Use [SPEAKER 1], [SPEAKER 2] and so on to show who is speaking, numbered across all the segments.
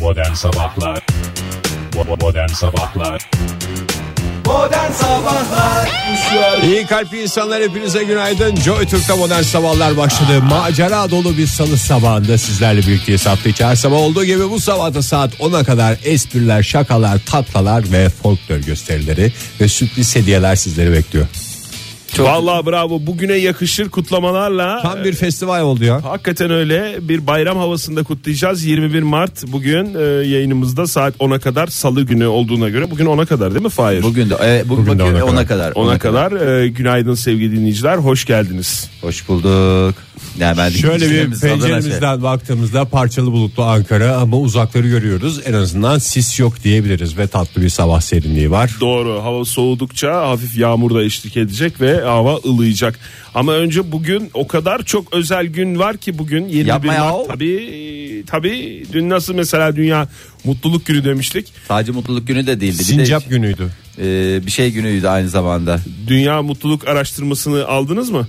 [SPEAKER 1] Modern Sabahlar Bo- Modern Sabahlar
[SPEAKER 2] Modern Sabahlar
[SPEAKER 3] İyi kalpli insanlar hepinize günaydın. Joy Türk'te modern sabahlar başladı. Macera dolu bir salı sabahında sizlerle birlikteyiz. Hafta içi her sabah olduğu gibi bu sabah da saat 10'a kadar espriler, şakalar, tatlalar ve folklor gösterileri ve sürpriz hediyeler sizleri bekliyor.
[SPEAKER 4] Vallahi bravo bugüne yakışır kutlamalarla.
[SPEAKER 3] Tam bir festival oldu ya.
[SPEAKER 4] Hakikaten öyle bir bayram havasında kutlayacağız. 21 Mart bugün e, yayınımızda saat 10'a kadar salı günü olduğuna göre bugün 10'a kadar değil mi Fahir?
[SPEAKER 2] Bugün de e, bu-
[SPEAKER 3] Bugün de
[SPEAKER 2] bugün
[SPEAKER 3] ona
[SPEAKER 2] ona
[SPEAKER 3] kadar.
[SPEAKER 2] kadar.
[SPEAKER 4] Ona kadar e, günaydın sevgili dinleyiciler hoş geldiniz.
[SPEAKER 2] Hoş bulduk. Yani ben
[SPEAKER 3] Şöyle bir
[SPEAKER 2] dinleyicilerimiz adına şey-
[SPEAKER 3] penceremizden baktığımızda parçalı bulutlu Ankara ama uzakları görüyoruz. En azından sis yok diyebiliriz ve tatlı bir sabah serinliği var.
[SPEAKER 4] Doğru hava soğudukça hafif yağmur da eşlik edecek ve hava ılıyacak. Ama önce bugün o kadar çok özel gün var ki bugün 21
[SPEAKER 2] Yapma ya.
[SPEAKER 4] Mart. Tabii tabii dün nasıl mesela dünya mutluluk günü demiştik.
[SPEAKER 2] Sadece mutluluk günü de değildi. Bir, de,
[SPEAKER 3] Sincap günüydü.
[SPEAKER 2] e, bir şey günüydü aynı zamanda.
[SPEAKER 4] Dünya mutluluk araştırmasını aldınız mı?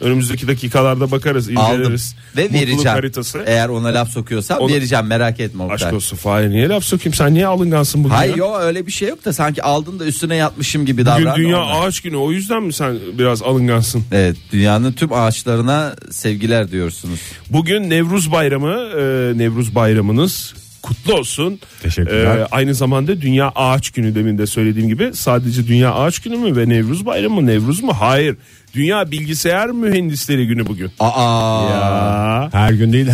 [SPEAKER 4] Önümüzdeki dakikalarda bakarız,
[SPEAKER 2] Aldım
[SPEAKER 4] inceleriz.
[SPEAKER 2] ve
[SPEAKER 4] mutluluk
[SPEAKER 2] vereceğim.
[SPEAKER 4] haritası.
[SPEAKER 2] Eğer ona laf sokuyorsam
[SPEAKER 4] Onu-
[SPEAKER 2] vereceğim merak etme Oktay.
[SPEAKER 4] Aşk olsun Fahir niye laf sokayım sen niye alıngansın bugün?
[SPEAKER 2] Hayır
[SPEAKER 4] ya?
[SPEAKER 2] yok öyle bir şey yok da sanki aldın da üstüne yatmışım gibi
[SPEAKER 4] Bugün
[SPEAKER 2] davran.
[SPEAKER 4] dünya
[SPEAKER 2] Ondan.
[SPEAKER 4] ağaç günü o yüzden mi sen biraz alıngansın?
[SPEAKER 2] Evet dünyanın tüm ağaçlarına sevgiler diyorsunuz.
[SPEAKER 4] Bugün Nevruz Bayramı, e, Nevruz Bayramınız kutlu olsun. Ee,
[SPEAKER 3] Teşekkürler.
[SPEAKER 4] aynı zamanda Dünya Ağaç Günü demin de söylediğim gibi sadece Dünya Ağaç Günü mü ve Nevruz Bayramı mı Nevruz mu? Hayır. Dünya Bilgisayar Mühendisleri Günü bugün.
[SPEAKER 2] Aa
[SPEAKER 4] Aa,
[SPEAKER 3] Her gün değil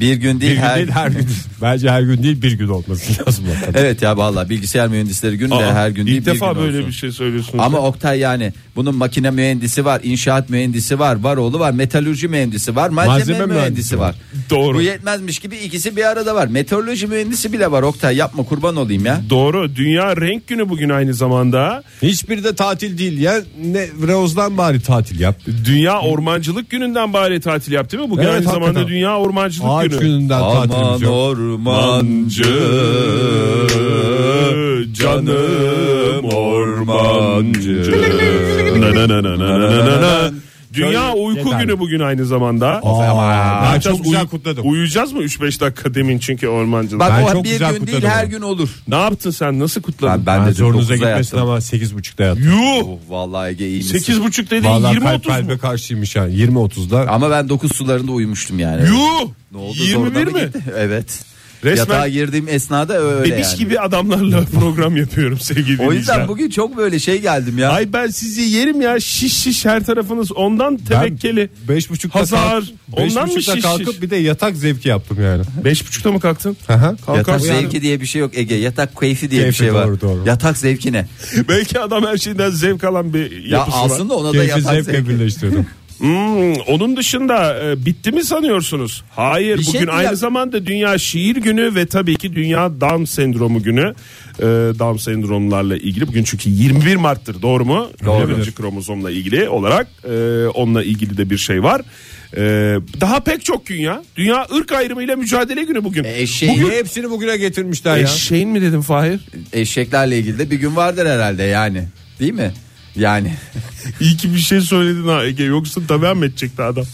[SPEAKER 2] bir gün değil
[SPEAKER 3] Bir gün
[SPEAKER 2] her
[SPEAKER 3] değil her gün. Bence her gün değil bir gün olması lazım.
[SPEAKER 2] Evet ya vallahi bilgisayar mühendisleri günü de
[SPEAKER 4] aa,
[SPEAKER 2] her gün değil
[SPEAKER 4] İlk
[SPEAKER 2] bir
[SPEAKER 4] defa
[SPEAKER 2] gün
[SPEAKER 4] böyle
[SPEAKER 2] olsun.
[SPEAKER 4] bir şey söylüyorsunuz.
[SPEAKER 2] Ama Oktay yani bunun makine mühendisi var, inşaat mühendisi var, var oğlu var, metalürji mühendisi var, malzeme,
[SPEAKER 3] Malzeme
[SPEAKER 2] mühendisi,
[SPEAKER 3] mühendisi
[SPEAKER 2] var.
[SPEAKER 4] Doğru.
[SPEAKER 2] Bu yetmezmiş gibi ikisi bir arada var. Meteoroloji mühendisi bile var Oktay yapma kurban olayım ya.
[SPEAKER 4] Doğru. Dünya Renk Günü bugün aynı zamanda.
[SPEAKER 3] Hiçbiri de tatil değil ya. Nevroz'dan bari tatil yap.
[SPEAKER 4] Dünya Ormancılık Günü'nden bari tatil yap değil mi? Bugün
[SPEAKER 3] Evet,
[SPEAKER 4] aynı
[SPEAKER 3] hakikaten.
[SPEAKER 4] zamanda Dünya Ormancılık
[SPEAKER 3] Ağaç
[SPEAKER 4] Günü.
[SPEAKER 3] gününden
[SPEAKER 2] Aman
[SPEAKER 3] tatilimiz yok.
[SPEAKER 2] ormancı
[SPEAKER 4] canım
[SPEAKER 2] ormancı.
[SPEAKER 4] Na na na na na na na na. Dünya Uyku
[SPEAKER 3] Yeter.
[SPEAKER 4] Günü bugün aynı zamanda.
[SPEAKER 3] Aa, ben
[SPEAKER 4] Yapacağız,
[SPEAKER 3] çok güzel
[SPEAKER 4] uyu-
[SPEAKER 3] kutladım.
[SPEAKER 4] Uyuyacağız mı 3-5 dakika demin çünkü ormancılık.
[SPEAKER 2] Bak
[SPEAKER 3] Ben
[SPEAKER 2] o
[SPEAKER 3] çok
[SPEAKER 2] bir
[SPEAKER 3] güzel
[SPEAKER 2] gün değil
[SPEAKER 3] kutladım
[SPEAKER 2] her
[SPEAKER 3] onu.
[SPEAKER 2] gün olur.
[SPEAKER 4] ne yaptın sen? Nasıl
[SPEAKER 2] Ben,
[SPEAKER 4] kutladın?
[SPEAKER 2] ben,
[SPEAKER 3] Ben
[SPEAKER 2] de
[SPEAKER 3] zorunuza
[SPEAKER 2] 9'a
[SPEAKER 3] gitmesin
[SPEAKER 2] yattım.
[SPEAKER 3] ama 8.30'da yattım.
[SPEAKER 4] Yuh!
[SPEAKER 2] Oh, vallahi Ege iyi misin?
[SPEAKER 4] 8.30 dediğin
[SPEAKER 3] Vallahi kalp
[SPEAKER 4] 20-30 mu?
[SPEAKER 3] kalbe karşıymış yani 20.30'da.
[SPEAKER 2] Ama ben 9 sularında uyumuştum yani.
[SPEAKER 4] Yuh!
[SPEAKER 2] Ne oldu? zoruna
[SPEAKER 4] 21
[SPEAKER 2] mı
[SPEAKER 4] mi?
[SPEAKER 2] gitti? Evet.
[SPEAKER 4] Resmen-
[SPEAKER 2] Yatağa girdiğim esnada öyle
[SPEAKER 4] Bebiş
[SPEAKER 2] yani.
[SPEAKER 4] gibi adamlarla program yapıyorum sevgili
[SPEAKER 2] O
[SPEAKER 4] dinleyiciler.
[SPEAKER 2] yüzden bugün çok böyle şey geldim ya.
[SPEAKER 4] Ay ben sizi yerim ya şiş şiş her tarafınız ondan tevekkeli.
[SPEAKER 3] Ben 5.30'da
[SPEAKER 4] Hazar.
[SPEAKER 3] kalk-
[SPEAKER 4] Ondan mı
[SPEAKER 3] 5.30'da
[SPEAKER 4] şiş şiş?
[SPEAKER 3] kalkıp bir de yatak zevki yaptım yani.
[SPEAKER 4] Beş buçukta mı kalktın?
[SPEAKER 3] Aha.
[SPEAKER 2] Yatak
[SPEAKER 4] Kalkarsın.
[SPEAKER 2] zevki diye bir şey yok Ege. Yatak keyfi diye
[SPEAKER 3] Keyfi
[SPEAKER 2] bir şey var.
[SPEAKER 3] doğru, doğru.
[SPEAKER 2] Yatak zevki ne?
[SPEAKER 4] Belki adam her şeyden zevk alan bir
[SPEAKER 2] Ya
[SPEAKER 4] yapısı var.
[SPEAKER 2] aslında ona da
[SPEAKER 3] Keyfi
[SPEAKER 2] yatak
[SPEAKER 3] zevkle
[SPEAKER 2] zevki.
[SPEAKER 3] birleştirdim.
[SPEAKER 4] Hmm, onun dışında e, bitti mi sanıyorsunuz? Hayır
[SPEAKER 2] Bir şey
[SPEAKER 4] bugün
[SPEAKER 2] mi
[SPEAKER 4] aynı
[SPEAKER 2] yap-
[SPEAKER 4] zamanda Dünya Şiir Günü ve tabii ki Dünya Down Sendromu Günü. E, Down sendromlarla ilgili bugün çünkü 21 Mart'tır doğru mu?
[SPEAKER 2] Doğru.
[SPEAKER 4] Birinci kromozomla ilgili olarak e, onunla ilgili de bir şey var. E, daha pek çok gün ya. Dünya ırk ayrımıyla mücadele günü bugün.
[SPEAKER 2] E, eşeğin-
[SPEAKER 4] Bugün-
[SPEAKER 3] Hepsini bugüne getirmişler ya.
[SPEAKER 4] Eşeğin mi dedim Fahir?
[SPEAKER 2] Eşeklerle ilgili de bir gün vardır herhalde yani. Değil mi? Yani
[SPEAKER 4] İyi ki bir şey söyledin ha Ege yoksa devam edecekti adam.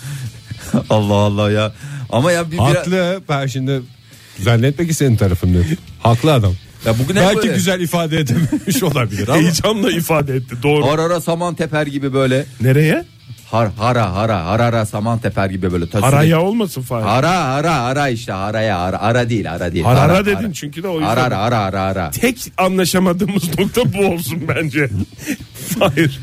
[SPEAKER 2] Allah Allah ya. Ama ya bir, bir-
[SPEAKER 3] Haklı. Ben şimdi zannetme ki senin tarafındayım. Haklı adam.
[SPEAKER 2] Ya bugün hep
[SPEAKER 3] Belki
[SPEAKER 2] böyle.
[SPEAKER 3] güzel ifade edememiş olabilir ama.
[SPEAKER 4] Heyecanla ifade etti doğru.
[SPEAKER 2] Har hara saman teper gibi böyle.
[SPEAKER 4] Nereye?
[SPEAKER 2] Har hara hara har hara saman teper gibi böyle. tasvir-
[SPEAKER 4] Araya olmasın Fahir.
[SPEAKER 2] Ara ara ara işte araya ara ara değil ara değil.
[SPEAKER 4] Ara ara dedin çünkü de o yüzden.
[SPEAKER 2] Ara ara ara ara ara.
[SPEAKER 4] Tek anlaşamadığımız nokta bu olsun bence. Hayır.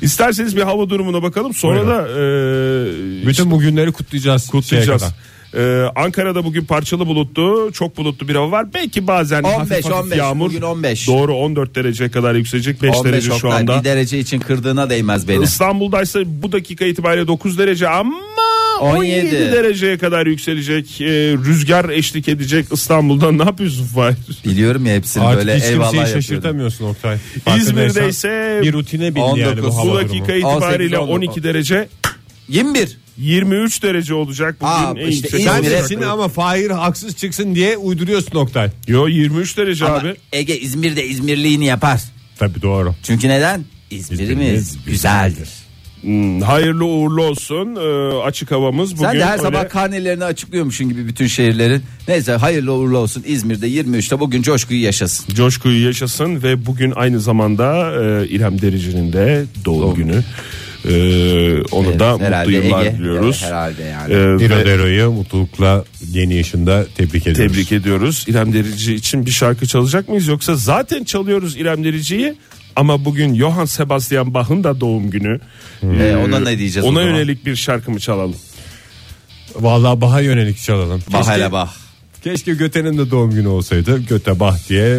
[SPEAKER 4] İsterseniz bir hava durumuna bakalım. Sonra
[SPEAKER 3] Buyurun.
[SPEAKER 4] da e,
[SPEAKER 3] Bütün bu günleri kutlayacağız. şeye
[SPEAKER 4] tutacağız.
[SPEAKER 3] kadar.
[SPEAKER 4] E, Ankara'da bugün parçalı bulutlu, çok bulutlu bir hava var. Belki bazen
[SPEAKER 2] 15,
[SPEAKER 4] hafif hafif
[SPEAKER 2] 15,
[SPEAKER 4] yağmur.
[SPEAKER 2] bugün 15.
[SPEAKER 4] Doğru 14 dereceye kadar yükselecek. 5
[SPEAKER 2] 15
[SPEAKER 4] derece şu
[SPEAKER 2] Oktay,
[SPEAKER 4] anda.
[SPEAKER 2] Bir derece için kırdığına değmez beni.
[SPEAKER 4] İstanbul'daysa bu dakika itibariyle 9 derece ama 17,
[SPEAKER 2] 17
[SPEAKER 4] dereceye kadar yükselecek. E, rüzgar eşlik edecek İstanbul'da. Ne yapıyorsun Fahir?
[SPEAKER 2] Biliyorum ya hepsini
[SPEAKER 3] Artık
[SPEAKER 2] böyle
[SPEAKER 3] hiç
[SPEAKER 2] eyvallah
[SPEAKER 3] kimseyi
[SPEAKER 2] yapıyorum.
[SPEAKER 3] şaşırtamıyorsun Oktay.
[SPEAKER 4] İzmir'de ise
[SPEAKER 3] bir rutine bindi yani
[SPEAKER 2] 19
[SPEAKER 3] bu hava
[SPEAKER 4] Bu
[SPEAKER 3] durumu.
[SPEAKER 4] dakika itibariyle 12 derece
[SPEAKER 2] 21.
[SPEAKER 4] 23 derece olacak bugün
[SPEAKER 2] Aa,
[SPEAKER 4] en
[SPEAKER 2] işte
[SPEAKER 4] yüksek.
[SPEAKER 3] Sen
[SPEAKER 2] İzmir'e-
[SPEAKER 4] sıcaklığı.
[SPEAKER 3] desin ama Fahir haksız çıksın diye uyduruyorsun Oktay.
[SPEAKER 4] Yo 23 derece
[SPEAKER 2] Ama
[SPEAKER 4] abi.
[SPEAKER 2] Ege İzmir'de İzmirliğini yapar.
[SPEAKER 3] Tabii doğru.
[SPEAKER 2] Çünkü neden? İzmir'imiz
[SPEAKER 3] İzmir'imiz
[SPEAKER 2] güzeldir.
[SPEAKER 4] Hmm, hayırlı uğurlu olsun. Ee, açık havamız bugün.
[SPEAKER 2] Sen de her
[SPEAKER 4] öyle-
[SPEAKER 2] sabah karnelerini açıklıyormuşsun gibi bütün şehirlerin. Neyse hayırlı uğurlu olsun. İzmir'de 23'te bugün coşkuyu yaşasın.
[SPEAKER 4] coşkuyu yaşasın ve bugün aynı zamanda e, İrem Derici'nin de doğum, günü. E, onu
[SPEAKER 2] Evet,
[SPEAKER 4] da mutlu
[SPEAKER 2] herhalde
[SPEAKER 4] yıllar
[SPEAKER 2] Ege.
[SPEAKER 4] diliyoruz.
[SPEAKER 2] Evet, herhalde yani.
[SPEAKER 4] E, ve
[SPEAKER 3] Dino Dero'yu mutlulukla yeni yaşında tebrik ediyoruz.
[SPEAKER 4] tebrik ediyoruz. İrem Derici için bir şarkı çalacak mıyız yoksa zaten çalıyoruz İrem Derici'yi ama bugün Johann Sebastian Bach'ın da doğum günü.
[SPEAKER 2] Ee, ona ne diyeceğiz o
[SPEAKER 4] Ona
[SPEAKER 2] zaman?
[SPEAKER 4] yönelik bir şarkı mı çalalım?
[SPEAKER 3] Vallahi Bah'a yönelik çalalım.
[SPEAKER 2] Bah
[SPEAKER 3] Keşke-
[SPEAKER 2] hele bah.
[SPEAKER 3] Keşke Göte'nin de doğum günü olsaydı. Göte Bah diye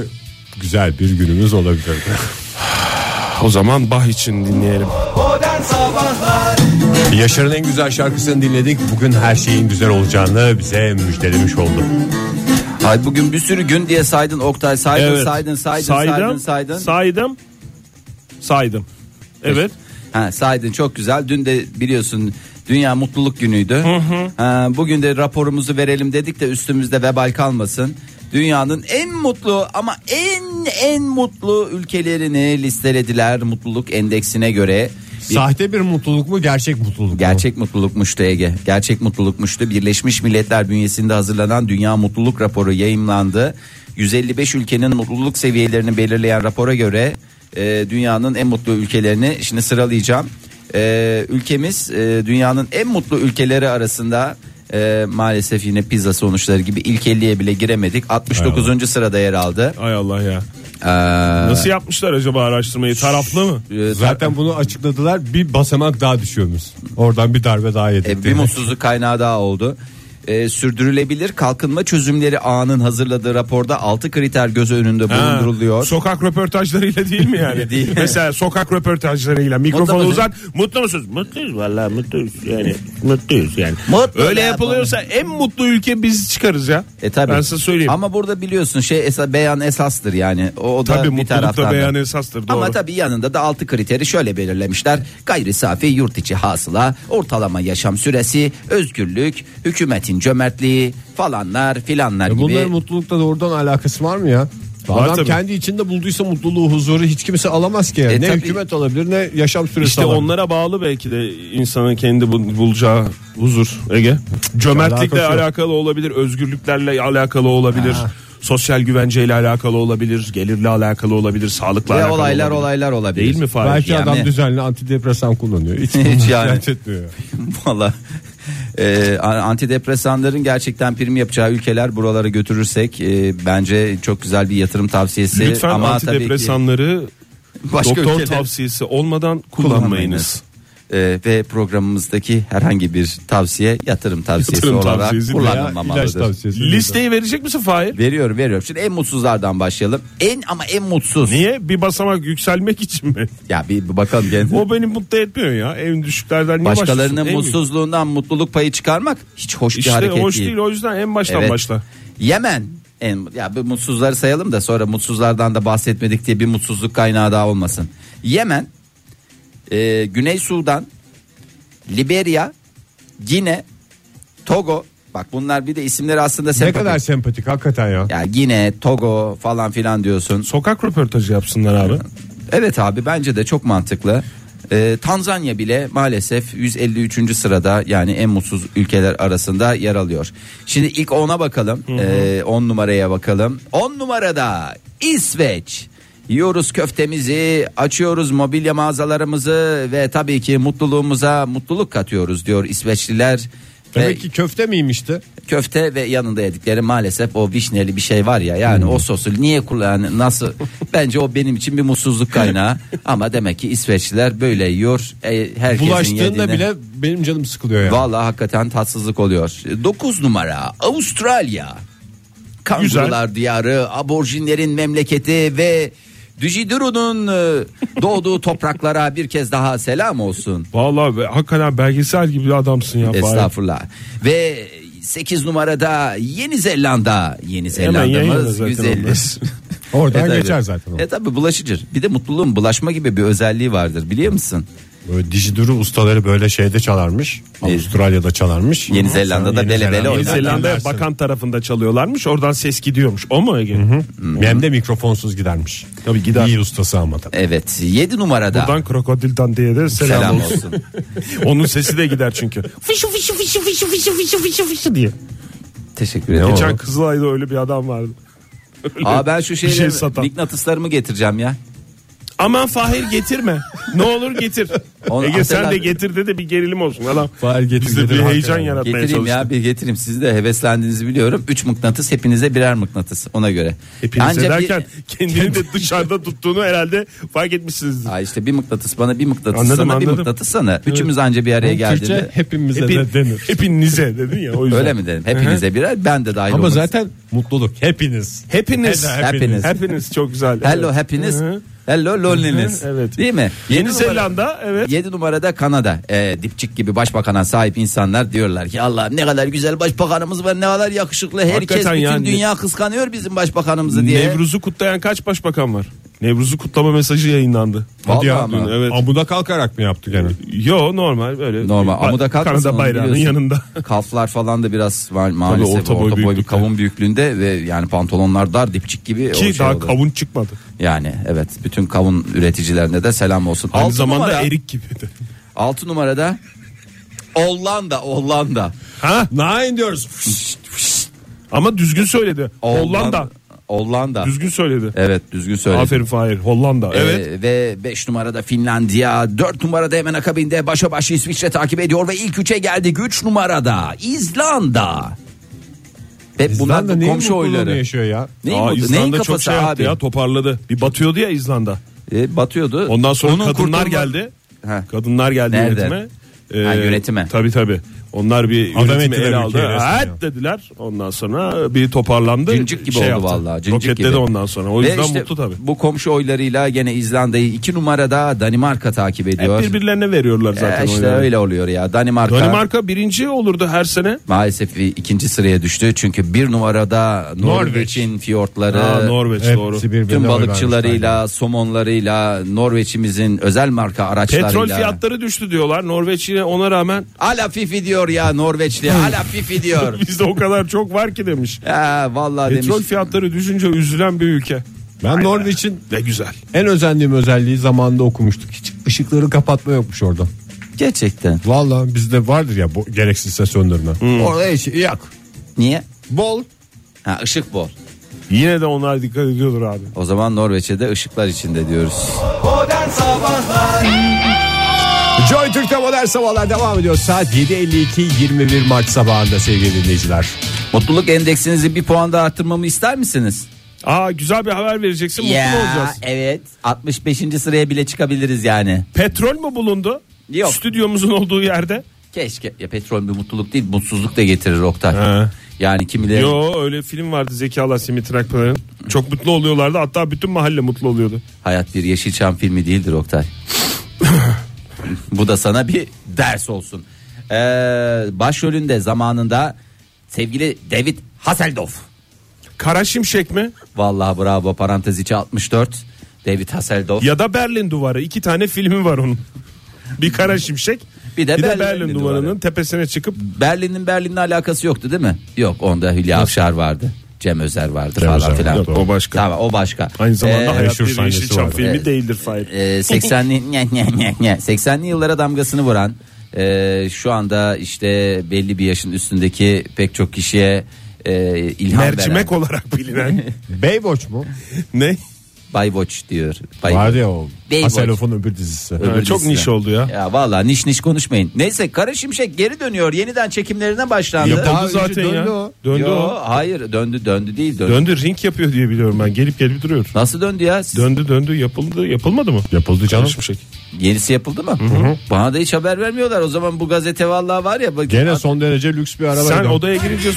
[SPEAKER 3] güzel bir günümüz olabilirdi.
[SPEAKER 4] O zaman Bach için dinleyelim.
[SPEAKER 3] Yaşar'ın en güzel şarkısını dinledik. Bugün her şeyin güzel olacağını bize müjdelemiş oldu.
[SPEAKER 2] Ay bugün bir sürü gün diye saydın Oktay saydın
[SPEAKER 4] Evet.
[SPEAKER 2] saydın saydın saydın
[SPEAKER 4] saydım,
[SPEAKER 2] saydın.
[SPEAKER 4] saydım, saydım. Evet.
[SPEAKER 2] ha, saydın çok güzel. Dün de biliyorsun Dünya Mutluluk Günü'ydü. Ha, bugün de raporumuzu verelim dedik de üstümüzde vebal kalmasın. Dünyanın en mutlu ama en en mutlu ülkelerini listelediler mutluluk endeksine göre. Bir-
[SPEAKER 3] Sahte bir mutluluk mu gerçek mutluluk mu?
[SPEAKER 2] Gerçek mutlulukmuştu Ege. Gerçek mutlulukmuştu. Birleşmiş Milletler bünyesinde hazırlanan Dünya Mutluluk Raporu yayımlandı. 155 ülkenin mutluluk seviyelerini belirleyen rapora göre e, dünyanın en mutlu ülkelerini şimdi sıralayacağım. E, ülkemiz e, dünyanın en mutlu ülkeleri arasında e, maalesef yine pizza sonuçları gibi ilk 50'ye bile giremedik. 69. sırada yer aldı.
[SPEAKER 4] Ay Allah ya.
[SPEAKER 2] Ee,
[SPEAKER 4] Nasıl yapmışlar acaba araştırmayı? Taraflı mı?
[SPEAKER 2] e,
[SPEAKER 3] Zaten bunu açıkladılar. Bir basamak daha düşüyormuş. Oradan bir darbe daha yedik.
[SPEAKER 2] E, bir
[SPEAKER 3] demek.
[SPEAKER 2] mutsuzluk kaynağı daha oldu. E, sürdürülebilir kalkınma çözümleri ağının hazırladığı raporda 6 kriter göz önünde
[SPEAKER 4] Ha,
[SPEAKER 2] bulunduruluyor.
[SPEAKER 4] Sokak röportajlarıyla değil mi yani?
[SPEAKER 2] Değil.
[SPEAKER 4] Mesela sokak röportajlarıyla mikrofonu
[SPEAKER 2] musun?
[SPEAKER 4] uzat. Mutlu musunuz? Mutluyuz vallahi mutluyuz yani. Mutluyuz yani.
[SPEAKER 2] Mutlu
[SPEAKER 4] Öyle
[SPEAKER 2] ya,
[SPEAKER 4] yapılıyorsa en mutlu ülke biz çıkarız ya.
[SPEAKER 2] E tabii.
[SPEAKER 4] Ben size söyleyeyim.
[SPEAKER 2] Ama burada biliyorsun şey esa, beyan esastır yani. O, o da
[SPEAKER 4] Tabii
[SPEAKER 2] bir
[SPEAKER 4] mutluluk da
[SPEAKER 2] taraftan.
[SPEAKER 4] beyan esastır, doğru.
[SPEAKER 2] Ama tabii yanında da altı kriteri şöyle belirlemişler. Gayri safi yurt içi hasıla, ortalama yaşam süresi, özgürlük, hükümetin cömertliği falanlar filanlar
[SPEAKER 3] E
[SPEAKER 2] gibi.
[SPEAKER 3] Bunların mutlulukla doğrudan alakası var mı ya?
[SPEAKER 4] Var
[SPEAKER 3] Adam
[SPEAKER 4] tabii.
[SPEAKER 3] kendi içinde bulduysa mutluluğu, huzuru hiç kimse alamaz ki.
[SPEAKER 2] E
[SPEAKER 3] ne
[SPEAKER 2] tabii.
[SPEAKER 3] hükümet alabilir ne yaşam süresi
[SPEAKER 4] işte
[SPEAKER 3] alabilir.
[SPEAKER 4] onlara bağlı belki de insanın kendi bul- bulacağı huzur Ege. Cömertlikle
[SPEAKER 3] alakası yok.
[SPEAKER 4] alakalı olabilir, özgürlüklerle alakalı olabilir. Sosyal güvenceyle alakalı olabilir, gelirle alakalı olabilir, sağlıkla
[SPEAKER 2] Ve
[SPEAKER 4] alakalı
[SPEAKER 2] olaylar
[SPEAKER 4] olabilir.
[SPEAKER 2] olaylar olabilir.
[SPEAKER 4] Değil mi Fahri?
[SPEAKER 3] Belki
[SPEAKER 2] Yani-
[SPEAKER 3] adam düzenli antidepresan kullanıyor. Hiç
[SPEAKER 2] Hiç
[SPEAKER 3] bundan
[SPEAKER 2] yani.
[SPEAKER 3] dert etmiyor.
[SPEAKER 2] Valla e, antidepresanların gerçekten prim yapacağı ülkeler buralara götürürsek e, bence çok güzel bir yatırım tavsiyesi.
[SPEAKER 4] Lütfen
[SPEAKER 2] Ama
[SPEAKER 4] antidepresanları
[SPEAKER 2] tabii ki başka
[SPEAKER 4] doktor
[SPEAKER 2] ülkeler
[SPEAKER 4] tavsiyesi olmadan
[SPEAKER 2] kullanmayınız.
[SPEAKER 4] kullanmayınız.
[SPEAKER 2] E, ve programımızdaki herhangi bir tavsiye yatırım tavsiyesi
[SPEAKER 4] Yatırım
[SPEAKER 2] olarak
[SPEAKER 4] tavsiyesi veya
[SPEAKER 3] İlaç
[SPEAKER 2] kullanılmamalıdır.
[SPEAKER 3] tavsiyesi.
[SPEAKER 4] Listeyi verecek misin Fahir?
[SPEAKER 2] Veriyorum veriyorum. Şimdi en mutsuzlardan başlayalım. En ama en mutsuz.
[SPEAKER 4] Niye? Bir basamak yükselmek için mi?
[SPEAKER 2] Ya bir, bir bakalım kendi.
[SPEAKER 4] O beni mutlu etmiyor ya. En düşüklerden niye başlıyorsun?
[SPEAKER 2] Başkalarının
[SPEAKER 4] En-
[SPEAKER 2] mutsuzluğundan mutluluk payı çıkarmak hiç hoş
[SPEAKER 4] İşte
[SPEAKER 2] bir hareket
[SPEAKER 4] hoş değil. O yüzden en baştan
[SPEAKER 2] Evet.
[SPEAKER 4] başla.
[SPEAKER 2] Yemen en ya bir mutsuzları sayalım da sonra mutsuzlardan da bahsetmedik diye bir mutsuzluk kaynağı daha olmasın. Yemen, e, Güney Sudan, Liberya, Gine, Togo. Bak bunlar bir de isimleri aslında
[SPEAKER 3] Ne
[SPEAKER 2] sempatik.
[SPEAKER 3] kadar sempatik hakikaten ya.
[SPEAKER 2] Ya Gine, Togo falan filan diyorsun.
[SPEAKER 4] Sokak röportajı yapsınlar abi.
[SPEAKER 2] Evet abi bence de çok mantıklı. E, Tanzanya bile maalesef 153. sırada yani en mutsuz ülkeler arasında yer alıyor. Şimdi ilk 10'a bakalım. 10 numaraya bakalım. 10 numarada İsveç. Yiyoruz köftemizi, açıyoruz mobilya mağazalarımızı ve tabii ki mutluluğumuza mutluluk katıyoruz diyor İsveçliler. Ve-
[SPEAKER 3] Demek ki köfte miymişti?
[SPEAKER 2] köfte ve yanında yedikleri maalesef o vişneli bir şey var ya yani
[SPEAKER 3] Hmm.
[SPEAKER 2] o sosu niye kullan nasıl bence o benim için bir mutsuzluk kaynağı ama demek ki İsveçliler böyle yiyor e, herkesin
[SPEAKER 3] Bulaştığında
[SPEAKER 2] yediğine-
[SPEAKER 3] bile benim canım sıkılıyor ya.
[SPEAKER 2] Vallahi hakikaten tatsızlık oluyor. 9 numara Avustralya. Kangurular diyarı, aborjinlerin memleketi ve Düjiduru'nun e, doğduğu topraklara bir kez daha selam olsun.
[SPEAKER 4] Vallahi be, hakikaten belgesel gibi bir adamsın ya. Fahir.
[SPEAKER 2] Estağfurullah. Ve 8 numarada Yeni Zelanda. Yeni
[SPEAKER 4] yayında
[SPEAKER 2] Zelanda'mız
[SPEAKER 4] zaten E,
[SPEAKER 2] 150.
[SPEAKER 4] onlar.
[SPEAKER 3] Oradan
[SPEAKER 2] tabii.
[SPEAKER 3] geçer zaten o.
[SPEAKER 2] E tabi bulaşıcı. Bir de mutluluğun bulaşma gibi bir özelliği vardır biliyor musun?
[SPEAKER 3] Böyle dijidürü ustaları böyle şeyde çalarmış. Avustralya'da çalarmış.
[SPEAKER 2] Yeni Zelanda'da
[SPEAKER 3] Yeni
[SPEAKER 2] bele bele
[SPEAKER 3] Zelanda-
[SPEAKER 4] Yeni
[SPEAKER 2] oynar.
[SPEAKER 4] Zelanda'ya
[SPEAKER 3] Dersin.
[SPEAKER 4] bakan tarafında çalıyorlarmış. Oradan ses gidiyormuş. O mu Ege?
[SPEAKER 3] Hem de mikrofonsuz gidermiş. Tabii gider. İyi ustası ama tabii.
[SPEAKER 2] Evet 7 numarada.
[SPEAKER 4] Buradan krokodildan diye de selam,
[SPEAKER 2] Selam
[SPEAKER 4] olsun.
[SPEAKER 2] olsun.
[SPEAKER 4] Onun sesi de gider çünkü. Fışu fışu fışu fışu fışu fışu fışu fışu diye.
[SPEAKER 2] Teşekkür ederim.
[SPEAKER 4] Geçen Kızılay'da öyle bir adam vardı.
[SPEAKER 2] Aa ben şu
[SPEAKER 4] Bir şey
[SPEAKER 2] şeyleri
[SPEAKER 4] satan.
[SPEAKER 2] mıknatıslarımı getireceğim ya.
[SPEAKER 4] Aman Fahir getirme. ne olur getir.
[SPEAKER 2] Onu
[SPEAKER 4] Ege sen
[SPEAKER 2] hatırlat-
[SPEAKER 4] de getir de de bir gerilim olsun. Adam
[SPEAKER 3] Fahir getir,
[SPEAKER 4] bizde
[SPEAKER 3] getir,
[SPEAKER 4] bir
[SPEAKER 3] hakikaten.
[SPEAKER 4] heyecan yaratmaya
[SPEAKER 2] Getireyim
[SPEAKER 4] çalıştı.
[SPEAKER 2] ya bir getireyim. Siz de heveslendiğinizi biliyorum. 3 mıknatıs hepinize birer mıknatıs ona göre.
[SPEAKER 4] Hepiniz
[SPEAKER 2] Ancak bir-
[SPEAKER 4] ederken kendini de dışarıda tuttuğunu herhalde fark etmişsinizdir.
[SPEAKER 2] Aa işte bir mıknatıs bana bir mıknatıs
[SPEAKER 4] Anladım,
[SPEAKER 2] sana bir
[SPEAKER 4] anladım. Ee,
[SPEAKER 2] mıknatıs sana. Üçümüz anca bir araya geldiğinde
[SPEAKER 3] Türkçe hepimize
[SPEAKER 4] Hepin-
[SPEAKER 3] de denir.
[SPEAKER 4] hepinize dedin ya o yüzden.
[SPEAKER 2] öyle mi dedim? Hepinize birer ben de dahil
[SPEAKER 3] Ama
[SPEAKER 2] olmak
[SPEAKER 3] zaten mutluluk hepiniz.
[SPEAKER 4] Hepiniz.
[SPEAKER 3] Hello,
[SPEAKER 2] Hepiniz.
[SPEAKER 4] Hepiniz çok güzel.
[SPEAKER 2] Hello
[SPEAKER 4] Evet.
[SPEAKER 2] happiness.
[SPEAKER 4] Hı hı.
[SPEAKER 2] Hello loneliness.
[SPEAKER 4] Evet.
[SPEAKER 2] Değil mi?
[SPEAKER 4] Yeni Zelanda evet.
[SPEAKER 2] 7 numarada Kanada. Ee, dipçik gibi başbakana sahip insanlar diyorlar ki Allah ne kadar güzel başbakanımız var ne kadar yakışıklı. Herkes
[SPEAKER 4] Hakikaten
[SPEAKER 2] bütün
[SPEAKER 4] yani-
[SPEAKER 2] dünya kıskanıyor bizim başbakanımızı diye.
[SPEAKER 4] Nevruz'u kutlayan kaç başbakan var? Nevruz'u kutlama mesajı yayınlandı.
[SPEAKER 2] Vallahi
[SPEAKER 4] ya,
[SPEAKER 2] ama.
[SPEAKER 4] dün, evet.
[SPEAKER 3] Amuda kalkarak mı yaptı gene?
[SPEAKER 4] Yo normal böyle.
[SPEAKER 2] Normal
[SPEAKER 4] Ba-
[SPEAKER 2] amuda kalkmasın.
[SPEAKER 4] Kanada
[SPEAKER 2] onu
[SPEAKER 4] bayrağının
[SPEAKER 2] biliyorsun.
[SPEAKER 4] yanında.
[SPEAKER 2] Kaflar falan da biraz var maalesef.
[SPEAKER 4] orta
[SPEAKER 2] orta
[SPEAKER 4] boy
[SPEAKER 2] boy, bir
[SPEAKER 4] büyüklükte.
[SPEAKER 2] kavun büyüklüğünde ve yani pantolonlar dar dipçik gibi. o
[SPEAKER 4] Ki
[SPEAKER 2] şey
[SPEAKER 4] daha
[SPEAKER 2] oldu.
[SPEAKER 4] kavun çıkmadı.
[SPEAKER 2] Yani evet bütün kavun üreticilerine de selam olsun.
[SPEAKER 4] Aynı
[SPEAKER 2] Altı
[SPEAKER 4] zamanda
[SPEAKER 2] numara,
[SPEAKER 4] erik gibi de.
[SPEAKER 2] 6 numarada Hollanda Hollanda.
[SPEAKER 4] Ha?
[SPEAKER 3] Nine diyoruz.
[SPEAKER 4] Ama düzgün söyledi. Hollanda.
[SPEAKER 2] Hollanda.
[SPEAKER 4] Düzgün söyledi.
[SPEAKER 2] Evet düzgün söyledim.
[SPEAKER 4] Aferin Fahir. Hollanda.
[SPEAKER 2] Ee,
[SPEAKER 4] Evet.
[SPEAKER 2] ve 5 numarada Finlandiya, 4 numarada hemen akabinde başa baş İsviçre takip ediyor ve ilk 3'e geldi. 3 numarada İzlanda. Hep bunlar
[SPEAKER 3] İzlanda
[SPEAKER 2] da
[SPEAKER 3] neyin
[SPEAKER 2] komşu
[SPEAKER 3] mutluluğunu
[SPEAKER 2] oyları.
[SPEAKER 3] yaşıyor ya?
[SPEAKER 2] Neyin,
[SPEAKER 4] Aa,
[SPEAKER 2] mutlu-
[SPEAKER 4] İzlanda
[SPEAKER 2] neyin
[SPEAKER 4] çok
[SPEAKER 2] kafası
[SPEAKER 4] şey yaptı
[SPEAKER 2] abi?
[SPEAKER 4] ya toparladı. Bir batıyordu ya İzlanda.
[SPEAKER 2] E, batıyordu.
[SPEAKER 4] Ondan sonra
[SPEAKER 2] Onun
[SPEAKER 4] kadınlar
[SPEAKER 2] kurtulma-
[SPEAKER 4] geldi.
[SPEAKER 2] Ha.
[SPEAKER 4] Kadınlar geldi
[SPEAKER 2] Nerede?
[SPEAKER 4] yönetime. Ee,
[SPEAKER 2] Ha, yönetime.
[SPEAKER 4] Tabii tabii. Onlar bir
[SPEAKER 3] Adam
[SPEAKER 4] yönetimi
[SPEAKER 3] ettiler
[SPEAKER 4] ele
[SPEAKER 3] ülkeyi
[SPEAKER 4] aldı.
[SPEAKER 3] resmen ya.
[SPEAKER 4] Evet dediler. Ondan sonra bir toparlandı. Şey
[SPEAKER 2] Cincik gibi oldu vallahi. Cincik
[SPEAKER 4] Roketledi
[SPEAKER 2] gibi.
[SPEAKER 4] ondan sonra. O
[SPEAKER 2] Ve
[SPEAKER 4] yüzden
[SPEAKER 2] işte
[SPEAKER 4] mutlu tabii.
[SPEAKER 2] Bu komşu oylarıyla gene İzlanda'yı 2 numarada Danimarka takip ediyor.
[SPEAKER 4] Hep birbirlerine veriyorlar zaten.
[SPEAKER 2] E, işte
[SPEAKER 4] oyları.
[SPEAKER 2] öyle oluyor ya. Danimarka,
[SPEAKER 4] Danimarka birinci olurdu her sene.
[SPEAKER 2] maalesef ikinci sıraya düştü. Çünkü bir numarada Norveç'in fiyortları.
[SPEAKER 4] Aa, Norveç
[SPEAKER 3] Hepsi
[SPEAKER 4] doğru.
[SPEAKER 3] birbirine
[SPEAKER 2] Tüm
[SPEAKER 3] oy
[SPEAKER 2] balıkçılarıyla, somonlarıyla, Norveç'imizin özel marka araçlarıyla.
[SPEAKER 4] Petrol fiyatları düştü diyorlar. Norveç yine ona rağmen
[SPEAKER 2] Ala fifi diyor ya Norveçli. Ala fifi diyor.
[SPEAKER 4] bizde o kadar çok var ki demiş.
[SPEAKER 2] Ya vallahi
[SPEAKER 4] Petrol
[SPEAKER 2] demiş.
[SPEAKER 4] fiyatları düşünce üzülen bir ülke.
[SPEAKER 3] Ben Norveç'in
[SPEAKER 4] Ne güzel.
[SPEAKER 3] en özendiğim özelliği zamanında okumuştuk. Hiç ışıkları kapatma yokmuş orada.
[SPEAKER 2] Gerçekten.
[SPEAKER 3] Valla bizde vardır ya bu gereksiz ses söndürme. Orada hiç yok.
[SPEAKER 2] Niye?
[SPEAKER 3] Bol.
[SPEAKER 2] Ha ışık bol.
[SPEAKER 4] Yine de onlar dikkat ediyordur abi.
[SPEAKER 2] O zaman Norveç'e de ışıklar içinde diyoruz.
[SPEAKER 3] Joy Türk'te modern sabahlar devam ediyor. Saat 7.52 21 Mart sabahında sevgili dinleyiciler.
[SPEAKER 2] Mutluluk endeksinizi bir puan daha arttırmamı ister misiniz?
[SPEAKER 4] Aa güzel bir haber vereceksin mutlu olacağız.
[SPEAKER 2] evet. 65. sıraya bile çıkabiliriz yani.
[SPEAKER 4] Petrol mü bulundu?
[SPEAKER 2] Yok.
[SPEAKER 4] Stüdyomuzun olduğu yerde.
[SPEAKER 2] Keşke. Ya petrol bir mutluluk değil mutsuzluk da getirir Oktay.
[SPEAKER 4] He.
[SPEAKER 2] Yani kimileri...
[SPEAKER 4] Yo öyle film vardı Zeki Alasya Metin Akpınar'ın. Çok mutlu oluyorlardı hatta bütün mahalle mutlu oluyordu.
[SPEAKER 2] Hayat bir Yeşilçam filmi değildir Oktay. Bu da sana bir ders olsun. Ee, başrolünde zamanında sevgili David Hasselhoff.
[SPEAKER 4] Kara Şimşek mi?
[SPEAKER 2] Vallahi bravo parantez içi 64. David Hasselhoff.
[SPEAKER 4] Ya da Berlin Duvarı. İki tane filmi var onun. Bir Kara Şimşek.
[SPEAKER 2] Bir de
[SPEAKER 4] Berlin,
[SPEAKER 2] Berlin
[SPEAKER 4] Duvarı'nın
[SPEAKER 2] Duvarı.
[SPEAKER 4] tepesine çıkıp
[SPEAKER 2] Berlin'in Berlin'le alakası yoktu değil mi? Yok onda Hülya Avşar vardı. Cem Özer vardı falan
[SPEAKER 3] Özer,
[SPEAKER 2] filan.
[SPEAKER 3] yok,
[SPEAKER 4] o başka.
[SPEAKER 2] Tamam o başka.
[SPEAKER 4] aynı zamanda
[SPEAKER 2] Ee,
[SPEAKER 4] hayat
[SPEAKER 3] meşhur
[SPEAKER 4] bir
[SPEAKER 3] sahnesi
[SPEAKER 4] Yeşilçam
[SPEAKER 3] var.
[SPEAKER 4] filmi
[SPEAKER 2] Evet.
[SPEAKER 4] değildir Fahir.
[SPEAKER 2] Ee, 80'li nye, nye, nye, nye. 80'li yıllara damgasını vuran e, şu anda işte belli bir yaşın üstündeki pek çok kişiye e, ilham veren
[SPEAKER 4] Mercimek olarak bilinen.
[SPEAKER 3] Baywatch mu?
[SPEAKER 4] ne?
[SPEAKER 2] Baywatch diyor. Bay-
[SPEAKER 3] Var ya o.
[SPEAKER 2] Baywatch.
[SPEAKER 3] Hasselhoff'un öbür dizisi.
[SPEAKER 2] Öbür
[SPEAKER 4] Ha, çok
[SPEAKER 2] dizisine.
[SPEAKER 4] niş oldu ya.
[SPEAKER 2] Ya vallahi niş niş konuşmayın. Neyse Kara Şimşek geri dönüyor. Yeniden çekimlerine başlandı.
[SPEAKER 4] Yapıldı
[SPEAKER 3] Daha önce
[SPEAKER 4] zaten ya.
[SPEAKER 3] döndü o.
[SPEAKER 4] Döndü
[SPEAKER 2] Yo,
[SPEAKER 4] o.
[SPEAKER 2] hayır döndü döndü değil döndü.
[SPEAKER 4] Döndü ring yapıyor diye biliyorum ben. Gelip gelip duruyor.
[SPEAKER 2] Nasıl döndü ya? Siz-
[SPEAKER 4] Döndü döndü yapıldı. Yapılmadı mı?
[SPEAKER 3] Yapıldı canım.
[SPEAKER 4] Kara Şimşek.
[SPEAKER 2] Yenisi yapıldı mı? Bana da hiç haber vermiyorlar. O zaman bu gazete vallahi var ya. Bak,
[SPEAKER 3] Gene son derece lüks bir araba.
[SPEAKER 4] Sen odaya girince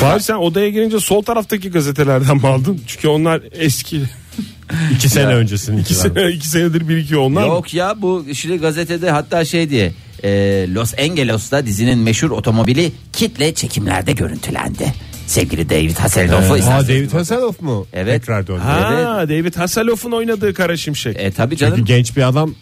[SPEAKER 4] Fahir sen odaya girince sol taraftaki gazetelerden mi aldın? Çünkü onlar eski.
[SPEAKER 3] iki sene öncesinin
[SPEAKER 4] İki, sene, iki senedir birikiyor onlar.
[SPEAKER 2] Yok ya bu işte gazetede hatta şey diye. Ee, Los Angeles'ta dizinin meşhur otomobili kitle çekimlerde görüntülendi. Sevgili David Hasselhoff'u
[SPEAKER 3] Aa,
[SPEAKER 2] isterseniz-
[SPEAKER 3] David Hasselhoff mu?
[SPEAKER 2] Evet.
[SPEAKER 3] Tekrar döndü.
[SPEAKER 4] Ha, David Hasselhoff'un oynadığı Kara Şimşek.
[SPEAKER 2] E, tabii
[SPEAKER 3] Çünkü
[SPEAKER 2] canım.
[SPEAKER 3] genç bir adam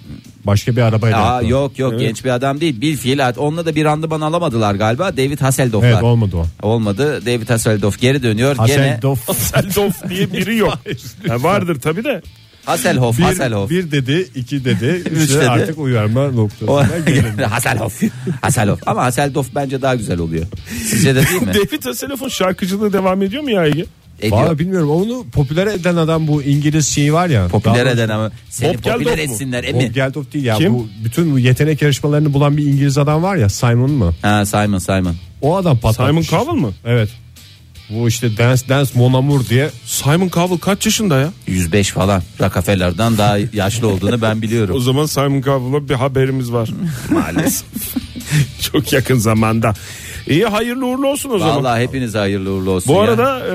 [SPEAKER 3] başka bir arabayla.
[SPEAKER 2] Aa,
[SPEAKER 3] yaptı.
[SPEAKER 2] yok yok genç bir adam değil. Bir fiil at- onunla da bir randıman alamadılar galiba. David Hasselhoff'lar.
[SPEAKER 3] Evet olmadı o.
[SPEAKER 2] Olmadı. David Hasselhoff geri dönüyor. Gene
[SPEAKER 3] Hasselhoff.
[SPEAKER 4] Hasselhoff diye biri yok. Ha, vardır tabii de.
[SPEAKER 2] Hasselhoff,
[SPEAKER 3] Bir,
[SPEAKER 2] Hasselhoff.
[SPEAKER 3] bir dedi, iki dedi, üç
[SPEAKER 2] dedi.
[SPEAKER 3] dedi. Artık uyarma
[SPEAKER 2] O-
[SPEAKER 3] noktasına gelin.
[SPEAKER 2] Hasselhoff. Hasselhoff. Ama Hasselhoff bence daha güzel oluyor. Sizce de değil mi?
[SPEAKER 4] David Hasselhoff'un şarkıcılığı devam ediyor mu ya Ege?
[SPEAKER 2] Ediyor.
[SPEAKER 3] Valla bilmiyorum onu popüler eden adam bu İngiliz şeyi var ya.
[SPEAKER 2] popüler
[SPEAKER 3] Daha-
[SPEAKER 2] eden ama seni
[SPEAKER 4] Bob Geldof
[SPEAKER 2] popüler
[SPEAKER 4] mu?
[SPEAKER 2] etsinler
[SPEAKER 3] Bob
[SPEAKER 2] emin.
[SPEAKER 3] Geldof değil ya.
[SPEAKER 4] Kim?
[SPEAKER 3] Bu bütün bu yetenek yarışmalarını bulan bir İngiliz adam var ya Simon mu?
[SPEAKER 2] Ha Simon Simon.
[SPEAKER 3] O adam
[SPEAKER 4] Simon
[SPEAKER 3] patlamış.
[SPEAKER 4] Cowell mı?
[SPEAKER 3] Evet. Bu işte Dance Dance Mon Amour diye
[SPEAKER 4] Simon Cowell kaç yaşında ya?
[SPEAKER 2] 105 falan. Rockefeller'dan daha yaşlı olduğunu ben
[SPEAKER 4] O
[SPEAKER 2] biliyorum.
[SPEAKER 4] zaman Simon Cowell'a bir haberimiz var. Maalesef. Çok yakın zamanda. İyi hayırlı uğurlu olsun o zaman.
[SPEAKER 2] Vallahi hepinize hayırlı uğurlu olsun.
[SPEAKER 4] Bu
[SPEAKER 2] ya.
[SPEAKER 4] arada e,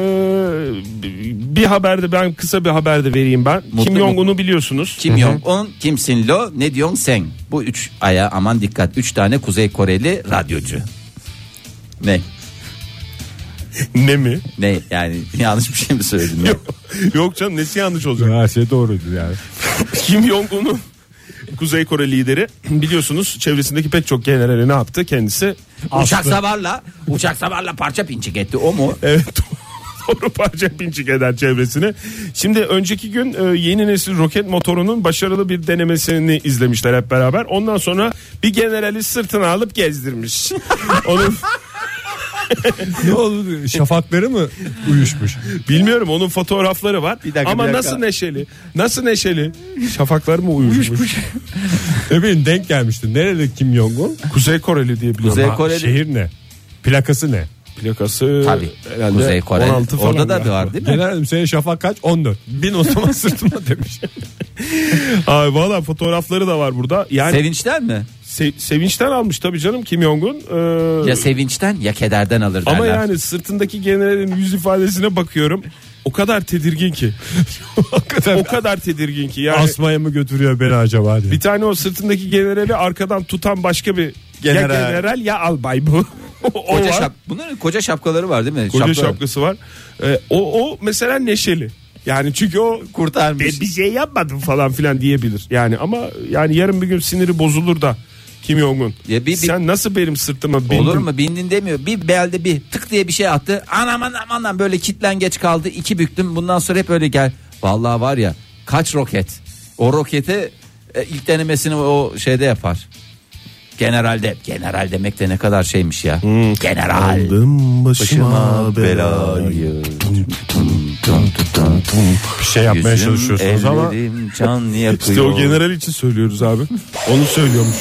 [SPEAKER 4] bir haberde ben kısa bir haberde vereyim ben.
[SPEAKER 2] Mutlu
[SPEAKER 4] Kim
[SPEAKER 2] mu?
[SPEAKER 4] Jong-un'u biliyorsunuz.
[SPEAKER 2] Kim Jong-un, Kim Sin Lo, ne diyorsun sen? Bu üç aya aman dikkat. Üç tane Kuzey Koreli radyocu. Ne?
[SPEAKER 4] ne mi?
[SPEAKER 2] Ne yani yanlış bir şey mi söyledim? ya?
[SPEAKER 4] Yok canım nesi yanlış olacak?
[SPEAKER 3] her şey doğruydu yani.
[SPEAKER 4] Kim Jong-un'un Kuzey Kore lideri biliyorsunuz çevresindeki pek çok generali ne yaptı kendisi?
[SPEAKER 2] uçak savarla, uçak savarla parça pinçik etti o mu?
[SPEAKER 4] Evet doğru parça pinçik eder çevresini. Şimdi önceki gün e, yeni nesil roket motorunun başarılı bir denemesini izlemişler hep beraber. Ondan sonra bir generali sırtına alıp gezdirmiş. Onun
[SPEAKER 3] ne oldu? Şafakları mı uyuşmuş?
[SPEAKER 4] Bilmiyorum onun fotoğrafları var.
[SPEAKER 2] Bir dakika,
[SPEAKER 4] Ama
[SPEAKER 2] bir dakika.
[SPEAKER 4] nasıl neşeli? Nasıl neşeli? Şafaklar mı uyuşmuş?
[SPEAKER 3] ne bileyim denk gelmişti. Nerede Kim Jong-un?
[SPEAKER 4] Kuzey Koreli diye biliyorum.
[SPEAKER 2] Kuzey
[SPEAKER 4] Ha,
[SPEAKER 2] Koreli.
[SPEAKER 3] Şehir ne? Plakası ne?
[SPEAKER 4] Plakası
[SPEAKER 2] Tabii.
[SPEAKER 4] herhalde
[SPEAKER 2] Kuzey Kore.
[SPEAKER 4] 16 falan
[SPEAKER 2] Orada da
[SPEAKER 4] galiba.
[SPEAKER 2] var değil mi?
[SPEAKER 3] Genel dedim senin şafak kaç? 14. Bin o zaman sırtıma demiş.
[SPEAKER 4] Ay valla fotoğrafları da var burada. Yani
[SPEAKER 2] Sevinçten mi?
[SPEAKER 4] se- sevinçten almış tabii canım Kim Jong-un. Ee,
[SPEAKER 2] Ya sevinçten ya kederden alır derler.
[SPEAKER 4] ama yani sırtındaki generalin yüz ifadesine bakıyorum. O kadar tedirgin ki.
[SPEAKER 3] o kadar
[SPEAKER 4] o kadar tedirgin ki. Yani
[SPEAKER 3] asmaya mı götürüyor beni acaba diye.
[SPEAKER 4] bir tane o sırtındaki generali arkadan tutan başka bir
[SPEAKER 2] General.
[SPEAKER 4] ya general ya albay bu. o
[SPEAKER 2] koca
[SPEAKER 4] var.
[SPEAKER 2] şap, bunların koca şapkaları var değil mi?
[SPEAKER 4] Koca
[SPEAKER 2] Şapkaları.
[SPEAKER 4] şapkası var. Ee, o, o mesela neşeli. Yani çünkü o
[SPEAKER 2] kurtarmış.
[SPEAKER 4] "Ben bir şey yapmadım falan filan diyebilir. Yani ama yani yarın bir gün siniri bozulur da Kim Jong-un.
[SPEAKER 2] Ya bir- bir-
[SPEAKER 4] Sen nasıl benim sırtıma bindin?
[SPEAKER 2] Olur mu bindin demiyor. Bir belde bir tık diye bir şey attı. Anam anam anam böyle kitlen geç kaldı. iki büktüm. Bundan sonra hep öyle gel. Vallahi var ya kaç roket. O rokete e, ilk denemesini o şeyde yapar. Generalde. General demek de ne kadar şeymiş ya. General.
[SPEAKER 4] Hmm. Aldım başıma
[SPEAKER 2] Belayı.
[SPEAKER 3] Bir şey yapmaya
[SPEAKER 2] Yüzüm,
[SPEAKER 3] çalışıyorsunuz ama
[SPEAKER 2] ellerim can yakıyor.
[SPEAKER 4] İşte o general için söylüyoruz abi. Onu söylüyormuş.